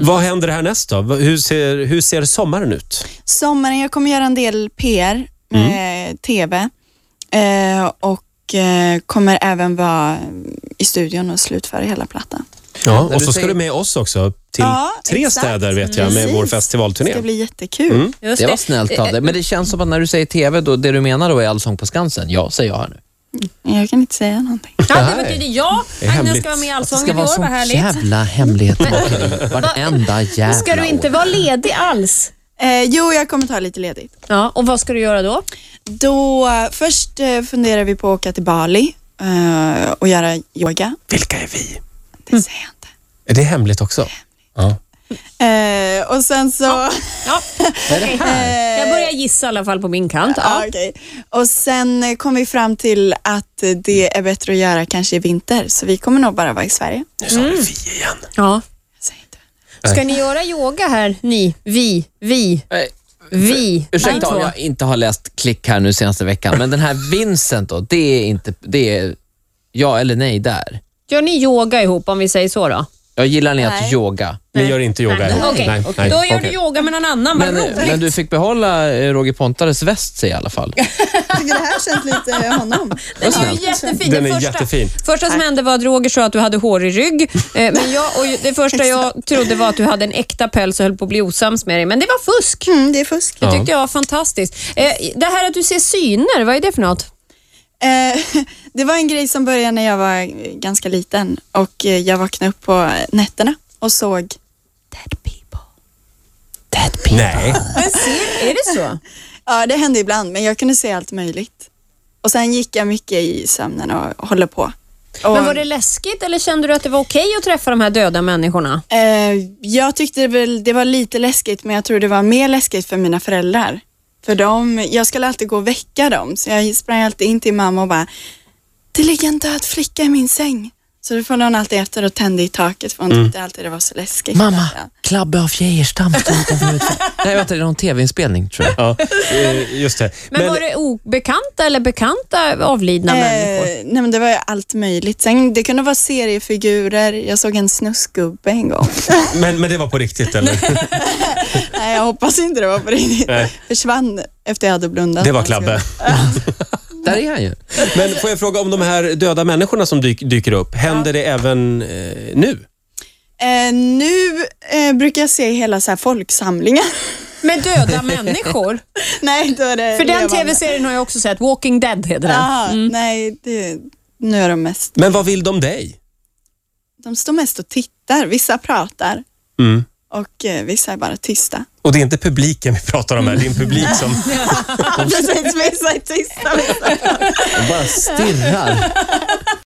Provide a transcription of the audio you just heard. Vad händer härnäst då? Hur ser, hur ser sommaren ut? Sommaren, jag kommer göra en del PR Mm. med TV eh, och eh, kommer även vara i studion och slutföra hela plattan. Ja, När och du så ska säger- du med oss också till Ja, tre exakt. städer vet jag med Precis. vår Det ska festivalturné. Mm. bli jättekul. Just Det var snällt av dig. Men eh, det känns som att när du säger TV, då, det du menar då är Allsång på Skansen? Ja, säger jag här nu. Jag kan inte säga någonting. Ja, det betyder jag. är Agnes hemligt. ska vara med i Att det Allsång ska i vara år, Alltså, vad sån härligt. jävla hemlighetsmakeri varenda jävla Ska du inte år. vara ledig alls? Eh, jo, jag kommer ta lite ledigt. Ja, och vad ska du göra då? Då, eh, först eh, funderar vi på att åka till Bali eh, och göra yoga. Vilka är vi? Mm. Det säger jag inte. Är det hemligt också? Ja. Eh, och sen så... Ja, Vad är det här? jag börjar gissa i alla fall på min kant. Ja, Ja. Ah, okej. Och sen eh, kom vi fram till att eh, det är bättre att göra kanske i vinter, så vi kommer nog bara vara i Sverige. Nu sa du vi igen. Ja. Jag säger inte. Ska ni göra yoga här, ni, vi, vi, Nej, vi? Eh, Ursäkta ni om två? jag inte har läst klick här nu senaste veckan, men den här Vincent då, det är inte, det är ja eller nej där. Gör ni yoga ihop om vi säger så då? Jag gillar ni att Nej. yoga. Ni gör inte yoga Nej. här. Okej. Nej, Då nej, gör okej. du yoga med någon annan, vad Men, eh, roligt. men du fick behålla eh, Roger Pontares väst sig i alla fall. Jag tycker det här känns lite honom. Den är ju jättefin. Den Det är första, jättefin. första som hände var att Roger sa att du hade hår i rygg. Eh, Men jag, och det första jag trodde var att du hade en äkta päls och höll på att bli osams med dig, men det var fusk. Mm, det är fusk. Det tyckte jag var fantastiskt. Eh, Det här att du ser syner, vad är det för något? Eh, det var en grej som började när jag var eh, ganska liten och eh, jag vaknade upp på eh, nätterna och såg dead people. Nej. Är det så? Ja, det hände ibland, men jag kunde se allt möjligt. Och sen gick jag mycket i sömnen och håller på. Och, Men var det läskigt eller kände du att det var okej att träffa de här döda människorna? eh, jag tyckte det, väl, det var lite läskigt, men jag tror det var mer läskigt för mina föräldrar. För de, jag skulle alltid gå och väcka dem, så jag sprang alltid in till mamma och bara, det ligger en död flicka i min säng. Så då följde hon alltid efter och tände i taket, för hon Mm. tyckte alltid det var så läskigt. Mamma, Ja. Klabbe af Geijerstam står utanför mitt fönster. Nej, vänta, det är någon tv-inspelning tror jag. Ja, eh, just det. Men, Men, var det obekanta eller bekanta avlidna människor? Eh, nej men det var ju allt möjligt. Sen, det kunde vara seriefigurer. Jag såg en snusgubbe en gång. men, men det var på riktigt eller? nej, jag hoppas inte det var på riktigt. Nej. Försvann efter jag hade blundat. Det var Klabbe. Där är han ju. Men får jag fråga om de här döda människorna som dyk, dyker upp, händer det även eh, nu? Eh, nu eh, brukar jag se hela så här folksamlingar. Med döda människor? nej, då är det För Eh, den Mm. levande. tv-serien har jag också sett, Walking Dead heter den. Jaha, Nej, det, nu är de mest... Men vad vill de dig? De står mest och tittar. Vissa pratar Mm. och eh, vissa är bara tysta. Och det är inte publiken vi pratar om här, det är en publik som... Precis, vissa är tysta. Vissa. De bara stirrar.